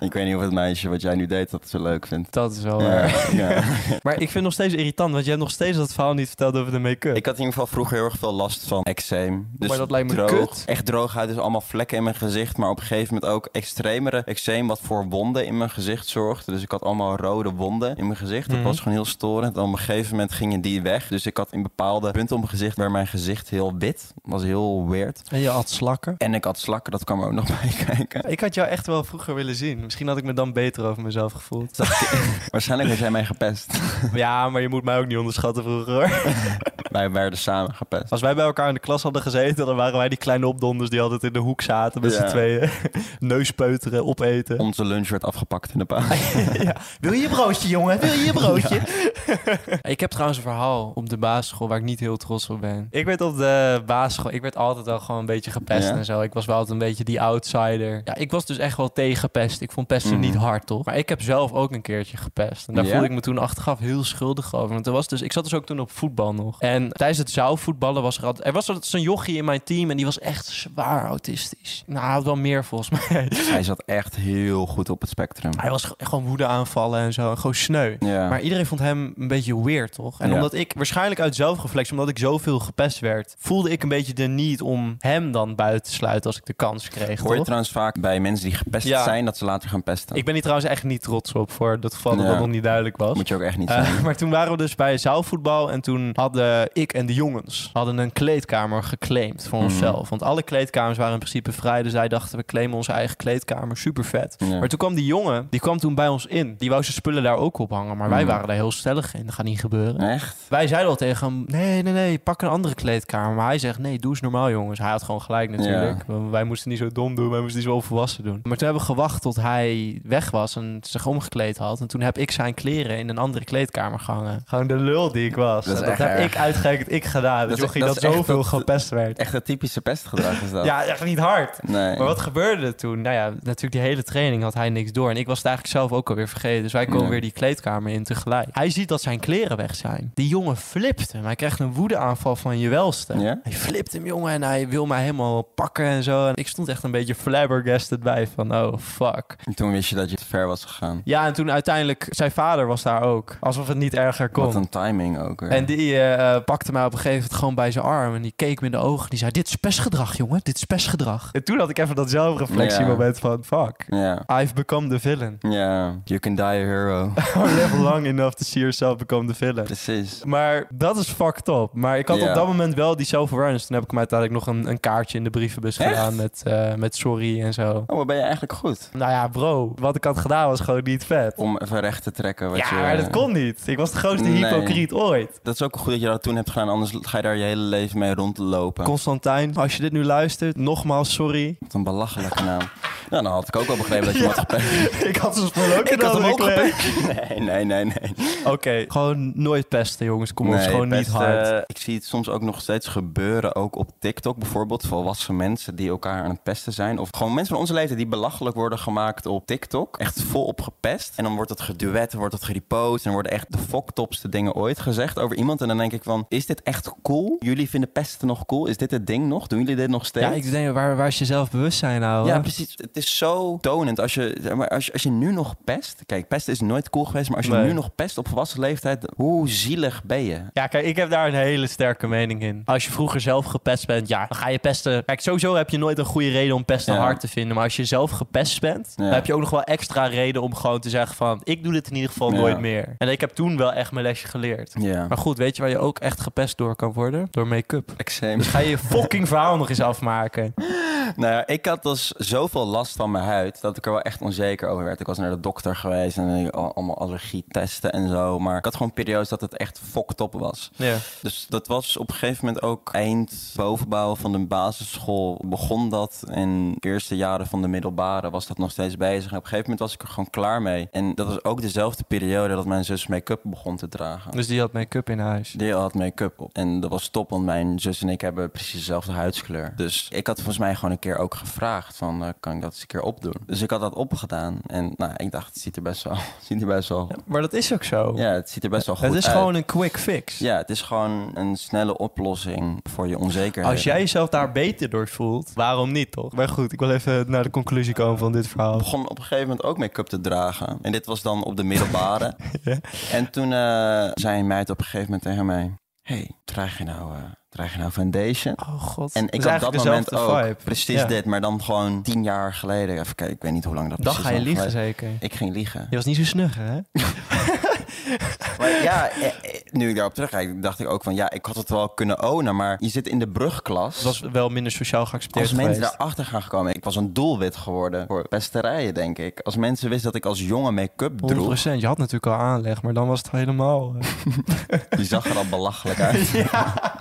Speaker 1: Ik weet niet of het meisje wat jij nu deed dat zo leuk vindt.
Speaker 2: Dat is wel waar.
Speaker 1: Ja, ja.
Speaker 2: Maar ik vind het nog steeds irritant, want je hebt nog steeds dat verhaal niet verteld over de make-up.
Speaker 1: Ik had in ieder geval vroeger heel erg veel last van eczeem. Dus
Speaker 2: Maar dat lijkt me
Speaker 1: droog,
Speaker 2: kut.
Speaker 1: Echt droog huid, dus allemaal vlekken in mijn gezicht. Maar op een gegeven moment ook extremere eczeem, wat voor wonden in mijn gezicht zorgde. Dus ik had allemaal rode wonden in mijn gezicht. Dat
Speaker 2: Mhm.
Speaker 1: was gewoon heel heel storend. En op een gegeven moment gingen die weg. Dus ik had in bepaalde punten op mijn gezicht waar mijn gezicht heel wit was. Heel weird.
Speaker 2: En je had slakken.
Speaker 1: En ik had slakken, dat kwam er ook nog bij kijken.
Speaker 2: Ik had jou echt wel vroeger willen zien. Misschien had ik me dan beter over mezelf gevoeld.
Speaker 1: Waarschijnlijk was jij mij gepest.
Speaker 2: ja, maar je moet mij ook niet onderschatten vroeger hoor.
Speaker 1: Wij werden samen gepest.
Speaker 2: Als wij bij elkaar in de klas hadden gezeten, dan waren wij die kleine opdonders die altijd in de hoek zaten met
Speaker 1: Ja.
Speaker 2: z'n tweeën. Neuspeuteren, opeten.
Speaker 1: Onze lunch werd afgepakt in de paal.
Speaker 2: Wil je broodje, jongen? Wil je broodje? ik heb trouwens een verhaal op de basisschool waar ik niet heel trots op ben. Ik werd op de basisschool, ik werd altijd wel gewoon een beetje gepest
Speaker 1: Ja.
Speaker 2: en zo. Ik was wel altijd een beetje die outsider. Ja, ik was dus echt wel tegen pest. Ik vond pesten
Speaker 1: Mhm.
Speaker 2: niet hard, toch? Maar ik heb zelf ook een keertje gepest. En daar
Speaker 1: Ja?
Speaker 2: voelde ik me toen achteraf heel schuldig over. Want er was dus, ik zat dus ook toen op voetbal nog. En tijdens het zaalvoetballen was er altijd... Er was altijd zo'n jochie in mijn team en die was echt zwaar autistisch. Nou, hij had wel meer volgens mij.
Speaker 1: Hij zat echt heel goed op het spectrum.
Speaker 2: Hij was ge- gewoon woede aanvallen en zo. en Gewoon sneu.
Speaker 1: Ja.
Speaker 2: Maar iedereen vond hem een beetje weird, toch? En
Speaker 1: Ja.
Speaker 2: omdat ik waarschijnlijk uit zelfreflex, omdat ik zoveel gepest werd, voelde ik een beetje de need om hem dan buiten te sluiten als ik de kans kreeg.
Speaker 1: Hoor je
Speaker 2: toch?
Speaker 1: trouwens vaak bij mensen die gepest
Speaker 2: Ja.
Speaker 1: zijn dat ze later gaan pesten?
Speaker 2: Ik ben hier trouwens echt niet trots op voor dat geval dat
Speaker 1: Ja.
Speaker 2: dat nog niet duidelijk was.
Speaker 1: Moet je ook echt niet
Speaker 2: Eh,
Speaker 1: zijn.
Speaker 2: maar toen waren we dus bij zaalvoetbal en toen hadden ik en de jongens hadden een kleedkamer geclaimd voor
Speaker 1: Mhm.
Speaker 2: onszelf. Want alle kleedkamers waren in principe vrij, dus wij dachten we claimen onze eigen kleedkamer, super vet.
Speaker 1: Ja.
Speaker 2: Maar toen kwam die jongen, die kwam toen bij ons in. Die wou zijn spullen daar ook ophangen, maar wij
Speaker 1: Mhm.
Speaker 2: waren daar heel stellig in. Dat gaat niet gebeuren.
Speaker 1: Echt?
Speaker 2: Wij zeiden al tegen hem, nee, nee, nee, pak een andere kleedkamer. Maar hij zegt, nee, doe eens normaal, jongens. Hij had gewoon gelijk natuurlijk. Wij moesten niet zo dom doen, wij moesten niet zo volwassen doen. Maar toen hebben we gewacht tot hij weg was en zich omgekleed had. En toen heb ik zijn kleren in een andere kleedkamer gehangen. Gewoon de lul die ik was.
Speaker 1: Dat is
Speaker 2: Dat,
Speaker 1: echt
Speaker 2: heb
Speaker 1: erg.
Speaker 2: ik uitgerekend ik gedaan.
Speaker 1: Dat
Speaker 2: Dat,
Speaker 1: is-
Speaker 2: jochie
Speaker 1: dat
Speaker 2: dat,
Speaker 1: is echt
Speaker 2: zoveel
Speaker 1: dat-
Speaker 2: gepest werd.
Speaker 1: Echt het typische pestgedrag is dat?
Speaker 2: Ja, echt niet hard.
Speaker 1: Nee.
Speaker 2: Maar wat gebeurde er toen? Nou ja, natuurlijk die hele training had hij niks door. En ik was het eigenlijk zelf ook alweer vergeten. Dus wij komen
Speaker 1: Ja.
Speaker 2: weer die kleedkamer in tegelijk. Hij ziet dat zijn kleren weg zijn. Die jongen flipt hem. Hij krijgt een woedeaanval van je welste.
Speaker 1: Ja?
Speaker 2: Hij flipt hem, jongen. En hij wil mij helemaal pakken en zo. En ik stond echt een beetje flabbergasted bij van... Oh, fuck.
Speaker 1: En toen wist je dat je te ver was gegaan.
Speaker 2: Ja, en toen uiteindelijk... Zijn vader was daar ook. Alsof het niet erger kon.
Speaker 1: Wat een timing ook weer.
Speaker 2: En die eh, eh, pakte mij op een gegeven moment gewoon bij zijn arm. En die keek me in de ogen. Die zei: Dit is pestgedrag, jongen. Dit is pestgedrag. En toen had ik even dat zelfreflectiemoment van: Fuck.
Speaker 1: Ja.
Speaker 2: I've become the villain.
Speaker 1: Ja. You can die a hero.
Speaker 2: Or live long enough to see yourself become the villain.
Speaker 1: Precies.
Speaker 2: Maar dat is fucked up. Maar ik had
Speaker 1: Ja.
Speaker 2: op dat moment wel die self-awareness. Toen heb ik hem uiteindelijk nog een, een kaartje in de brievenbus
Speaker 1: Echt?
Speaker 2: gedaan met, eh, met sorry en zo.
Speaker 1: Oh, maar ben je eigenlijk goed?
Speaker 2: Nou ja, bro, wat ik had gedaan was gewoon niet vet.
Speaker 1: Om even recht te trekken wat
Speaker 2: ja,
Speaker 1: je... eh,
Speaker 2: maar dat kon niet. Ik was de grootste
Speaker 1: Nee.
Speaker 2: hypocriet ooit.
Speaker 1: Dat is ook goed dat je dat toen hebt gedaan, anders ga je daar je hele leven mee rondlopen.
Speaker 2: Constantijn, als je dit nu luistert, nogmaals sorry.
Speaker 1: Wat een belachelijke naam. Ja, dan had ik ook wel begrepen dat je hem had gepest.
Speaker 2: ik had zijn spullen ook in de andere kleur.
Speaker 1: Nee, nee, nee, nee.
Speaker 2: Oké, gewoon nooit pesten, jongens. Kom ons
Speaker 1: Nee,
Speaker 2: gewoon
Speaker 1: pesten,
Speaker 2: niet hard.
Speaker 1: eh, Ik zie het soms ook nog steeds gebeuren, ook op TikTok bijvoorbeeld. Volwassen mensen die elkaar aan het pesten zijn. Of gewoon mensen van onze leeftijd die belachelijk worden gemaakt op TikTok. Echt volop gepest. En dan wordt het geduet, wordt het gerepost. En worden echt de foktopste dingen ooit gezegd over iemand. En dan denk ik van, is dit echt cool? Jullie vinden pesten nog cool? Is dit het ding nog? Doen jullie dit nog steeds?
Speaker 2: Ja, ik denk, waar, waar is je zelfbewustzijn nou?
Speaker 1: Ja, precies. Het is zo tonend. Als je, zeg maar, als, je- als je nu nog pest... Kijk, pesten is nooit cool geweest. Maar als je
Speaker 2: Nee.
Speaker 1: nu nog pest op volwassen leeftijd... Hoe zielig ben je?
Speaker 2: Ja, kijk, ik heb daar een hele sterke mening in. Als je vroeger zelf gepest bent, ja, dan ga je pesten. Kijk, sowieso heb je nooit een goede reden om pesten
Speaker 1: Ja.
Speaker 2: hard te vinden. Maar als je zelf gepest bent,
Speaker 1: Ja.
Speaker 2: dan heb je ook nog wel extra reden om gewoon te zeggen van... ik doe dit in ieder geval
Speaker 1: Ja.
Speaker 2: nooit meer. En ik heb toen wel echt mijn lesje geleerd.
Speaker 1: Ja.
Speaker 2: Maar goed, weet je waar je ook echt gepest door kan worden? Door make-up.
Speaker 1: Eczeem.
Speaker 2: Dus ga je je fucking verhaal nog eens afmaken.
Speaker 1: Nou ja, ik had dus zoveel last van mijn huid dat ik er wel echt onzeker over werd. Ik was naar de dokter geweest en eh, al- allemaal allergietesten en zo. Maar ik had gewoon periodes dat het echt fokt op was.
Speaker 2: Ja.
Speaker 1: Dus dat was op een gegeven moment ook eind bovenbouw van de basisschool begon dat. En de eerste jaren van de middelbare was dat nog steeds bezig. En op een gegeven moment was ik er gewoon klaar mee. En dat was ook dezelfde periode dat mijn zus make-up begon te dragen.
Speaker 2: Dus die had make-up in huis.
Speaker 1: Die had make-up op. En dat was top, want mijn zus en ik hebben precies dezelfde huidskleur. Dus ik had volgens mij gewoon een keer ook gevraagd van, eh, kan ik dat eens een keer opdoen? Dus ik had dat opgedaan. En nou, ik dacht, het ziet er best wel, het ziet er best wel,
Speaker 2: Maar dat is ook zo.
Speaker 1: ja, het ziet er best wel goed
Speaker 2: Oh. het is
Speaker 1: uit.
Speaker 2: gewoon een quick fix.
Speaker 1: Ja, het is gewoon een snelle oplossing voor je onzekerheid.
Speaker 2: Als jij jezelf daar beter door voelt, waarom niet toch? Maar goed, ik wil even naar de conclusie komen van dit verhaal.
Speaker 1: begon op een gegeven moment ook make-up te dragen. En dit was dan op de middelbare. En toen eh, zei een meid op een gegeven moment tegen mij... hey, draag je nou, eh, draag je nou foundation?
Speaker 2: Oh god.
Speaker 1: En ik
Speaker 2: had
Speaker 1: had dat moment ook.
Speaker 2: Vibe.
Speaker 1: Precies
Speaker 2: Ja.
Speaker 1: dit, maar dan gewoon tien jaar geleden. Even kijken, ik weet niet hoe lang dat
Speaker 2: Dan
Speaker 1: precies
Speaker 2: ga je
Speaker 1: was
Speaker 2: liegen
Speaker 1: geleden.
Speaker 2: zeker.
Speaker 1: Ik ging liegen.
Speaker 2: Je was niet zo snugger, hè?
Speaker 1: Maar ja, eh, eh, nu ik daarop terugkijk, dacht ik ook van ja, ik had het wel kunnen ownen, maar je zit in de brugklas.
Speaker 2: Het was wel minder sociaal geaccepteerd
Speaker 1: als mensen
Speaker 2: geweest.
Speaker 1: daarachter gaan gekomen, ik was een doelwit geworden voor pesterijen, denk ik. Als mensen wisten dat ik als jongen make-up droeg,
Speaker 2: 100%. Je had natuurlijk al aanleg, maar dan was het helemaal... eh,
Speaker 1: die zag er al belachelijk uit.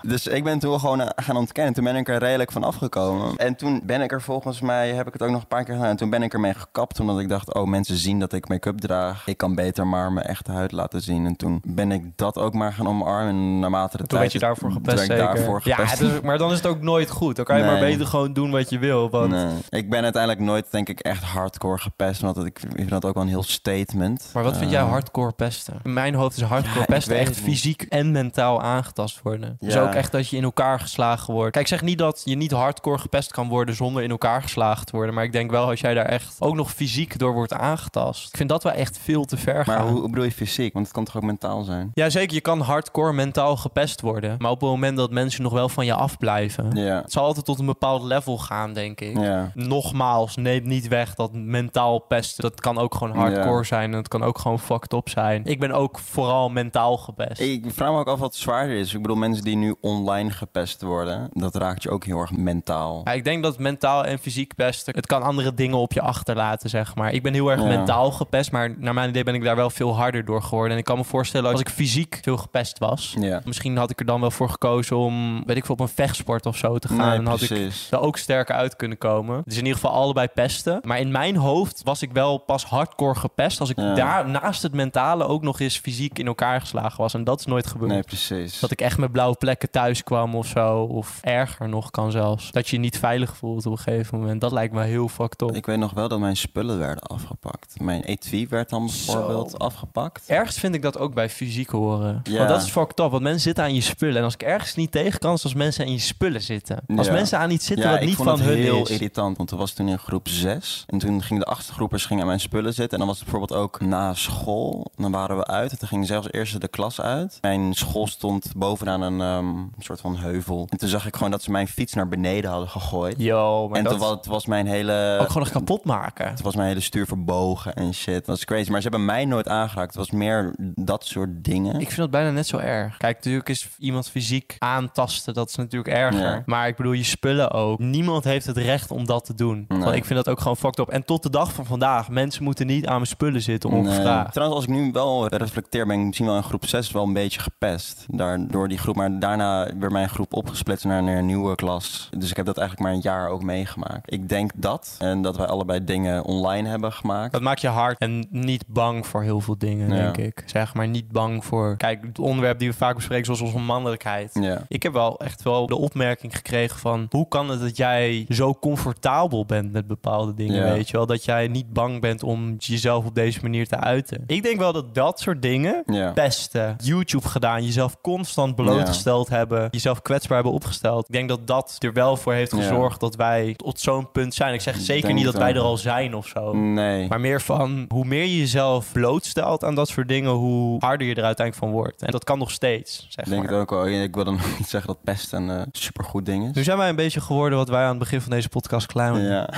Speaker 1: Dus ik ben toen gewoon eh, gaan ontkennen. Toen ben ik er redelijk van afgekomen. En toen ben ik er volgens mij, heb ik het ook nog een paar keer gedaan. En toen ben ik ermee gekapt, omdat ik dacht, oh mensen zien dat ik make-up draag. Ik kan beter maar mijn echte huid laten zien. En toen ben ik dat ook maar gaan omarmen. En naarmate de
Speaker 2: Toen
Speaker 1: tijd...
Speaker 2: werd je daarvoor gepest,
Speaker 1: werd ik
Speaker 2: zeker.
Speaker 1: daarvoor
Speaker 2: ja,
Speaker 1: gepest.
Speaker 2: het is- maar dan is het ook nooit goed. Dan kan je maar
Speaker 1: Nee.
Speaker 2: beter gewoon doen wat je wil. Want...
Speaker 1: Nee. Ik ben uiteindelijk nooit, denk ik, echt hardcore gepest. Want ik vind dat ook wel een heel statement.
Speaker 2: Maar wat vind jij
Speaker 1: Eh,
Speaker 2: hardcore pesten? In mijn hoofd is hardcore
Speaker 1: Ja, ik
Speaker 2: pesten
Speaker 1: weet
Speaker 2: echt
Speaker 1: het niet.
Speaker 2: fysiek en mentaal aangetast worden. Dus
Speaker 1: Ja.
Speaker 2: ook echt dat je in elkaar geslagen wordt. Kijk, ik zeg niet dat je niet hardcore gepest kan worden zonder in elkaar geslagen te worden. Maar ik denk wel als jij daar echt ook nog fysiek door wordt aangetast. Ik vind dat wel echt veel te ver gaan.
Speaker 1: Maar hoe, hoe bedoel je fysiek? Want het kan toch ook mentaal zijn?
Speaker 2: Ja, zeker. Je kan hardcore mentaal gepest worden. Maar op het moment dat mensen nog wel van je afblijven.
Speaker 1: Ja.
Speaker 2: Het zal altijd tot een bepaald level gaan, denk ik.
Speaker 1: Ja.
Speaker 2: Nogmaals, neem niet weg dat mentaal pesten, dat kan ook gewoon hardcore
Speaker 1: Ja.
Speaker 2: zijn. En dat kan ook gewoon fucked up zijn. Ik ben ook vooral mentaal gepest.
Speaker 1: Ik vraag me ook af wat zwaarder is. Ik bedoel, mensen die nu online gepest worden, dat raakt je ook heel erg mentaal.
Speaker 2: Ja, ik denk dat mentaal en fysiek pesten, het kan andere dingen op je achterlaten, zeg maar. Ik ben heel erg
Speaker 1: Ja.
Speaker 2: mentaal gepest, maar naar mijn idee ben ik daar wel veel harder door geworden. En ik kan me voorstellen, als ik fysiek veel gepest was,
Speaker 1: Ja.
Speaker 2: misschien had ik er dan wel voor gekozen om, weet ik veel, op een vechtsport of zo te gaan.
Speaker 1: Nee,
Speaker 2: en had ik
Speaker 1: precies.
Speaker 2: er ook sterker uit kunnen komen. Dus in ieder geval allebei pesten. Maar in mijn hoofd was ik wel pas hardcore gepest als ik
Speaker 1: Ja.
Speaker 2: daar naast het mentale ook nog eens fysiek in elkaar geslagen was. En dat is nooit gebeurd.
Speaker 1: Nee, precies.
Speaker 2: Dat ik echt met blauwe plekken thuis kwam of zo. Of erger nog kan zelfs. Dat je je niet veilig voelt op een gegeven moment. Dat lijkt me heel fucked up.
Speaker 1: Ik weet nog wel dat mijn spullen werden afgepakt. Mijn etui werd dan
Speaker 2: Zo.
Speaker 1: bijvoorbeeld afgepakt.
Speaker 2: Ergens vind ik dat ook bij fysiek horen.
Speaker 1: Ja.
Speaker 2: Want dat is fucked up. Want mensen zitten aan je spullen. En als ik ergens niet tegen kan, is als mensen aan je spullen zitten. Als
Speaker 1: Ja.
Speaker 2: mensen aan iets zitten
Speaker 1: ja,
Speaker 2: wat
Speaker 1: ik
Speaker 2: niet
Speaker 1: vond
Speaker 2: van
Speaker 1: het
Speaker 2: hun
Speaker 1: heel
Speaker 2: is.
Speaker 1: irritant, want er was toen in groep 6. En toen gingen de achtergroepers gingen aan mijn spullen zitten. En dan was het bijvoorbeeld ook na school. Dan waren we uit. En toen ging zelfs eerst de klas uit. Mijn school stond bovenaan een ehm, soort van heuvel. En toen zag ik gewoon dat ze mijn fiets naar beneden hadden gegooid.
Speaker 2: Yo, maar
Speaker 1: en eh,
Speaker 2: dat
Speaker 1: toen was, het was mijn hele...
Speaker 2: ook gewoon echt kapot maken.
Speaker 1: Het was mijn hele stuur verbogen en shit. Dat was crazy. Maar ze hebben mij nooit aangeraakt. Het was meer dat soort dingen.
Speaker 2: Ik vind dat bijna net zo erg. Kijk, natuurlijk is iemand fysiek aantasten, dat is natuurlijk erger.
Speaker 1: Ja.
Speaker 2: Maar ik bedoel, je spullen ook. Niemand heeft het recht om dat te doen.
Speaker 1: Nee.
Speaker 2: Want ik vind dat ook gewoon fucked up. En tot de dag van vandaag, mensen moeten niet aan mijn spullen zitten
Speaker 1: Nee.
Speaker 2: ongevraagd.
Speaker 1: eh, Trouwens, als ik nu wel reflecteer, ben ik misschien wel in groep 6 wel een beetje gepest. Daar, door die groep. Maar daarna werd mijn groep opgesplitst naar een nieuwe klas. Dus ik heb dat eigenlijk maar een jaar ook meegemaakt. Ik denk dat. En dat wij allebei dingen online hebben gemaakt.
Speaker 2: Dat maakt je hard en niet bang voor heel veel dingen,
Speaker 1: Ja.
Speaker 2: denk ik. Zeg maar niet bang voor. Kijk, het onderwerp die we vaak bespreken, zoals onze mannelijkheid.
Speaker 1: Ja.
Speaker 2: Ik heb wel echt wel de opmerking gekregen van... hoe kan het dat jij zo comfortabel bent met bepaalde dingen,
Speaker 1: Ja.
Speaker 2: weet je wel? Dat jij niet bang bent om jezelf op deze manier te uiten. Ik denk wel dat dat soort dingen...
Speaker 1: Ja.
Speaker 2: Pesten, YouTube gedaan, jezelf constant blootgesteld hebben, jezelf kwetsbaar hebben opgesteld. Ik denk dat dat er wel voor heeft
Speaker 1: Ja.
Speaker 2: gezorgd dat wij tot zo'n punt zijn. Ik zeg
Speaker 1: Ik
Speaker 2: zeker
Speaker 1: denk
Speaker 2: niet dat
Speaker 1: het
Speaker 2: wij er
Speaker 1: wel. Mm.
Speaker 2: al zijn of zo.
Speaker 1: Nee.
Speaker 2: Maar meer van hoe meer je jezelf blootstelt aan dat soort dingen, hoe harder je er uiteindelijk van wordt. En dat kan nog steeds, zeg
Speaker 1: Ik denk
Speaker 2: maar.
Speaker 1: het ook wel. Ik wil dan ook niet zeggen dat pesten een eh, supergoed ding
Speaker 2: Nu
Speaker 1: is.
Speaker 2: zijn wij een beetje geworden wat wij aan het begin van deze podcast klaar
Speaker 1: Ja.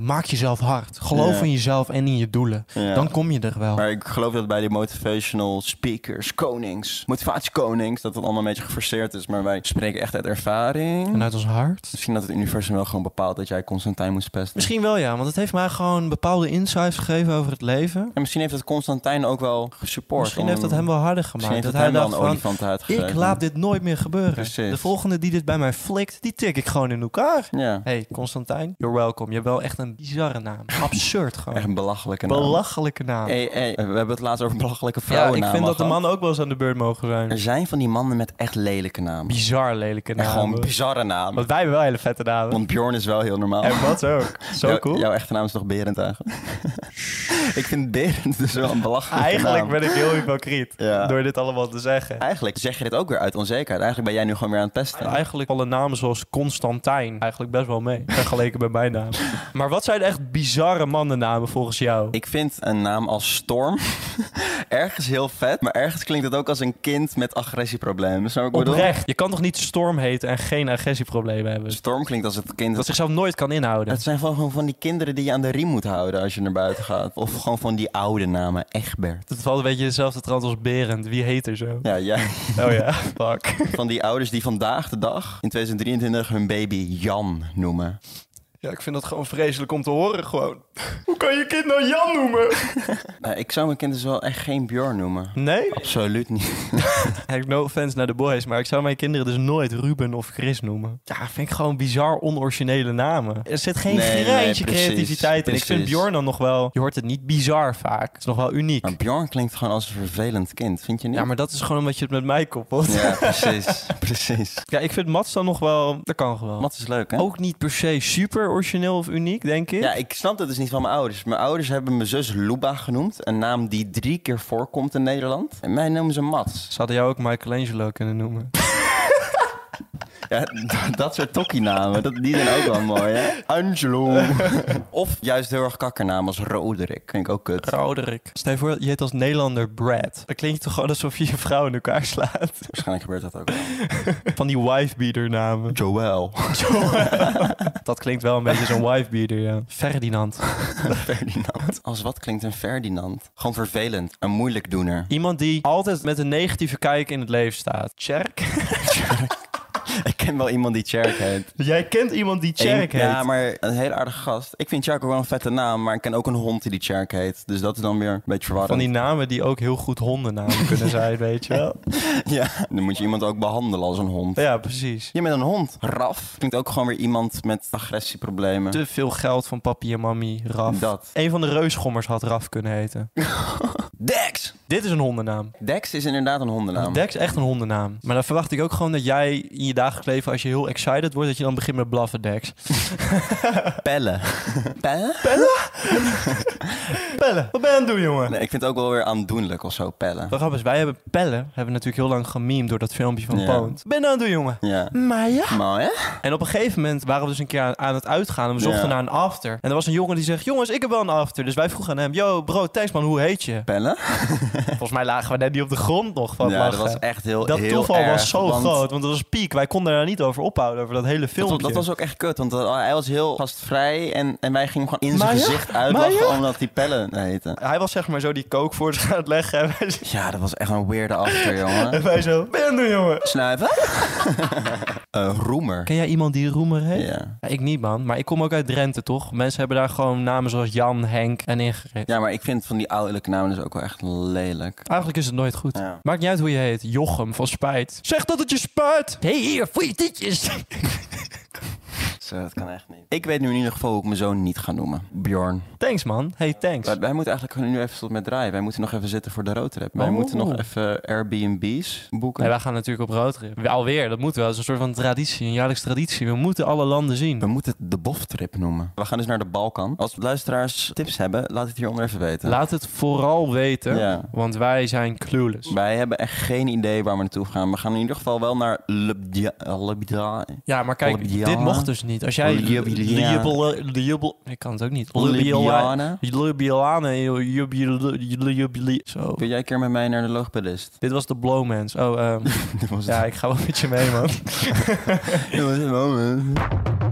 Speaker 2: Maak jezelf hard. Geloof
Speaker 1: Ja.
Speaker 2: in jezelf en in je doelen.
Speaker 1: Ja.
Speaker 2: Dan kom je er wel.
Speaker 1: Maar ik geloof dat bij die motivational speakers, konings, motivatiekonings, dat dat allemaal een beetje geforceerd is. Maar wij spreken echt uit ervaring.
Speaker 2: En uit ons hart.
Speaker 1: Misschien dat het universum wel gewoon bepaalt dat jij Constantijn moest pesten.
Speaker 2: Misschien wel ja, want het heeft mij gewoon bepaalde insights gegeven over het leven.
Speaker 1: En misschien heeft het Constantijn ook wel gesupport.
Speaker 2: Misschien
Speaker 1: om-
Speaker 2: heeft dat hem wel harder
Speaker 1: Misschien
Speaker 2: gemaakt.
Speaker 1: heeft
Speaker 2: Dat hij
Speaker 1: het hem wel
Speaker 2: dacht
Speaker 1: een
Speaker 2: van,
Speaker 1: olifant uitgegeven.
Speaker 2: ik laat dit nooit meer gebeuren.
Speaker 1: Precies.
Speaker 2: De volgende die dit bij mij flikt, die tik ik gewoon in elkaar.
Speaker 1: Ja,
Speaker 2: Hey Constantijn, you're welcome. Je hebt wel echt een bizarre naam. Absurd gewoon.
Speaker 1: echt een belachelijke naam.
Speaker 2: Belachelijke naam.
Speaker 1: Hey, hey, we hebben het laatst over belachelijke
Speaker 2: ja,
Speaker 1: vrouwen.
Speaker 2: ik vind dat de mannen ook wel eens aan de beurt mogen
Speaker 1: Er
Speaker 2: zijn.
Speaker 1: zijn van die mannen met echt lelijke namen.
Speaker 2: Bizar lelijke
Speaker 1: Echt gewoon
Speaker 2: namen.
Speaker 1: bizarre namen.
Speaker 2: Want wij hebben wel hele vette namen.
Speaker 1: Want Bjorn is wel heel normaal.
Speaker 2: En wat ook. Zo
Speaker 1: Jou-
Speaker 2: cool.
Speaker 1: Jouw echte naam is toch Berend eigenlijk? ik vind Berend dus wel een belachelijke
Speaker 2: Eigenlijk
Speaker 1: naam.
Speaker 2: ben ik heel hypocriet
Speaker 1: Ja.
Speaker 2: door dit allemaal te zeggen.
Speaker 1: Eigenlijk zeg je dit ook weer uit onzekerheid. Eigenlijk ben jij nu gewoon weer aan het pesten.
Speaker 2: Eigenlijk alle namen zoals Constantijn eigenlijk best wel mee. Vergeleken met mijn naam. Maar wat zijn echt bizarre mannennamen volgens jou?
Speaker 1: Ik vind een naam als Storm ergens heel vet, maar ergens klinkt het ook als een kind met agressieproblemen. Snap je wat ik bedoel?
Speaker 2: Oprecht. Je kan toch niet Storm heten en geen agressieproblemen hebben?
Speaker 1: Storm klinkt als het kind.
Speaker 2: Dat zichzelf nooit kan inhouden.
Speaker 1: Het zijn gewoon gewoon van die kinderen die je aan de riem moet houden als je naar buiten gaat. Of gewoon van die oude namen, Egbert.
Speaker 2: Dat valt een beetje jezelf te als Berend? Wie heet er zo?
Speaker 1: Ja, jij.
Speaker 2: Oh ja, fuck.
Speaker 1: Van die ouders die vandaag de dag, in 2023, hun baby Jan noemen.
Speaker 2: Ja, ik vind dat gewoon vreselijk om te horen gewoon. Hoe kan je kind nou Jan noemen?
Speaker 1: Nou, ik zou mijn kind dus wel echt geen Björn noemen.
Speaker 2: Nee?
Speaker 1: Absoluut niet.
Speaker 2: Hey, no offense naar de boys, maar ik zou mijn kinderen dus nooit Ruben of Chris noemen. Ja, vind ik gewoon bizar onoriginele namen. Er zit geen
Speaker 1: Nee, nee,
Speaker 2: greintje
Speaker 1: precies,
Speaker 2: creativiteit in. Ik vind
Speaker 1: precies.
Speaker 2: Bjorn dan nog wel... Je hoort het niet bizar vaak. Het is nog wel uniek.
Speaker 1: Maar Björn klinkt gewoon als een vervelend kind, vind je niet?
Speaker 2: Ja, maar dat is gewoon omdat je het met mij koppelt. Ja,
Speaker 1: Ja, precies. precies.
Speaker 2: ik vind Mats dan nog wel... Dat kan gewoon.
Speaker 1: Wat is leuk, hè?
Speaker 2: Ook niet per se super origineel of uniek, denk ik.
Speaker 1: Ja, ik snap dat dus niet van mijn ouders. Mijn ouders hebben mijn zus Luba genoemd. Een naam die drie keer voorkomt in Nederland. En mij noemen ze Mats.
Speaker 2: Ze hadden jou ook Michelangelo kunnen noemen.
Speaker 1: Ja, d- dat soort tokkie-namen, dat, die zijn ook wel mooi, hè? Angelo. of juist heel erg kakkernaam als Roderick. Vind ik ook kut.
Speaker 2: Roderick. Stel je voor, je heet als Nederlander Brad. Dan klinkt toch gewoon alsof je je vrouw in elkaar slaat.
Speaker 1: Waarschijnlijk gebeurt dat ook wel.
Speaker 2: Van die wifebeater namen.
Speaker 1: Joel.
Speaker 2: Dat klinkt wel een beetje zo'n wifebeater, ja. Ferdinand.
Speaker 1: Ferdinand. Als wat klinkt een Ferdinand? Gewoon vervelend. Een moeilijk doener.
Speaker 2: Iemand die altijd met een negatieve kijk in het leven staat. Cherk?
Speaker 1: Ik ken wel iemand die Cherk heet.
Speaker 2: Jij kent iemand die Cherk
Speaker 1: Eén-
Speaker 2: heet.
Speaker 1: Ja, maar een hele aardige gast. Ik vind Cherk ook wel een vette naam, maar ik ken ook een hond die die Cherk heet. Dus dat is dan weer een beetje verwarrend.
Speaker 2: Van die namen die ook heel goed hondennamen kunnen zijn, weet je wel.
Speaker 1: Ja, dan moet je iemand ook behandelen als een hond.
Speaker 2: Ja, precies.
Speaker 1: Je bent een hond. Raf klinkt ook gewoon weer iemand met agressieproblemen.
Speaker 2: Te veel geld van papi en mami, Raf.
Speaker 1: Dat.
Speaker 2: Een van de reusgommers had Raf kunnen heten.
Speaker 1: Dex!
Speaker 2: Dit is een hondennaam.
Speaker 1: Dex is inderdaad een hondennaam.
Speaker 2: Dex is echt een hondennaam. Maar dan verwacht ik ook gewoon dat jij in je dagelijks leven, als je heel excited wordt, dat je dan begint met blaffen, Dex.
Speaker 1: Pelle. Pelle?
Speaker 2: Pellen, wat ben je aan het doen, jongen?
Speaker 1: Nee, ik vind het ook wel weer aandoenlijk of zo, pellen.
Speaker 2: De grap is, wij hebben Pelle, hebben we natuurlijk heel lang gememd door dat filmpje van
Speaker 1: Ja.
Speaker 2: Poont. Ben je nou aan het doen, jongen?
Speaker 1: Ja.
Speaker 2: Maar ja.
Speaker 1: Mooi, hè?
Speaker 2: En op een gegeven moment waren we dus een keer aan, aan het uitgaan en we
Speaker 1: Ja.
Speaker 2: zochten naar een after. En er was een jongen die zegt, jongens, ik heb wel een after. Dus wij vroegen aan hem, yo bro, thanks man, hoe heet je?
Speaker 1: Pelle?
Speaker 2: Volgens mij lagen we net niet op de grond nog van
Speaker 1: ja,
Speaker 2: lachen.
Speaker 1: dat was echt heel
Speaker 2: Dat
Speaker 1: heel
Speaker 2: toeval
Speaker 1: erg,
Speaker 2: was zo
Speaker 1: want
Speaker 2: groot, want dat was piek. Wij konden daar niet over ophouden, over dat hele
Speaker 1: Dat
Speaker 2: filmpje.
Speaker 1: was, dat was ook echt kut, want dat- hij was heel gastvrij en, en wij gingen hem gewoon in zijn
Speaker 2: Maar ja,
Speaker 1: gezicht uitlachen
Speaker 2: maar ja.
Speaker 1: omdat die pellen heette.
Speaker 2: Hij was zeg maar zo die kook voor zich aan het leggen en wij,
Speaker 1: Ja, dat was echt een weirde after, jongen.
Speaker 2: en wij zo, ben je aan het doen, jongen?
Speaker 1: Snuiven? Eh, roemer.
Speaker 2: Ken jij iemand die Roemer heet?
Speaker 1: Ja.
Speaker 2: Ja, ik niet, man. Maar ik kom ook uit Drenthe, toch? Mensen hebben daar gewoon namen zoals Jan, Henk en Ingrid.
Speaker 1: Ja, maar ik vind van die ouderlijke namen dus ook wel echt lelijk.
Speaker 2: Eigenlijk is het nooit goed.
Speaker 1: Ja.
Speaker 2: Maakt niet uit hoe je heet. Jochem van Spijt. Zeg dat het je spuit! Hé, hey, hier, voor je tietjes!
Speaker 1: Zo, dat kan echt niet. Ik weet nu in ieder geval hoe ik mijn zoon niet ga noemen. Bjorn.
Speaker 2: thanks, man. Hey, thanks.
Speaker 1: Wij, wij moeten eigenlijk gewoon nu even tot met draaien. Wij moeten nog even zitten voor de roadtrip. Wij
Speaker 2: Oh.
Speaker 1: moeten nog even Airbnbs boeken.
Speaker 2: Nee, wij gaan natuurlijk op roadtrip. Alweer, dat moet wel. Dat is een soort van traditie, een jaarlijks traditie. We moeten alle landen zien.
Speaker 1: We moeten het de boftrip noemen. We gaan dus naar de Balkan. Als luisteraars tips hebben, laat het hieronder even weten.
Speaker 2: Laat het vooral weten,
Speaker 1: Ja.
Speaker 2: want wij zijn clueless.
Speaker 1: Wij hebben echt geen idee waar we naartoe gaan. We gaan in ieder geval wel naar Lebdia. Lebdia.
Speaker 2: Ja, maar kijk,
Speaker 1: Ljubljana.
Speaker 2: dit mocht dus niet. Als jij...
Speaker 1: Ljubljana.
Speaker 2: Ljubljana- Ljubljana- Ik kan het ook niet.
Speaker 1: Ljubljana.
Speaker 2: Ljubljana. Ljubljana. Zo.
Speaker 1: Kun jij een keer met mij naar de logopedist?
Speaker 2: Dit was de Blowmans. Oh, ehm,
Speaker 1: Dat was
Speaker 2: ja, ik ga wel met je mee, man.
Speaker 1: het.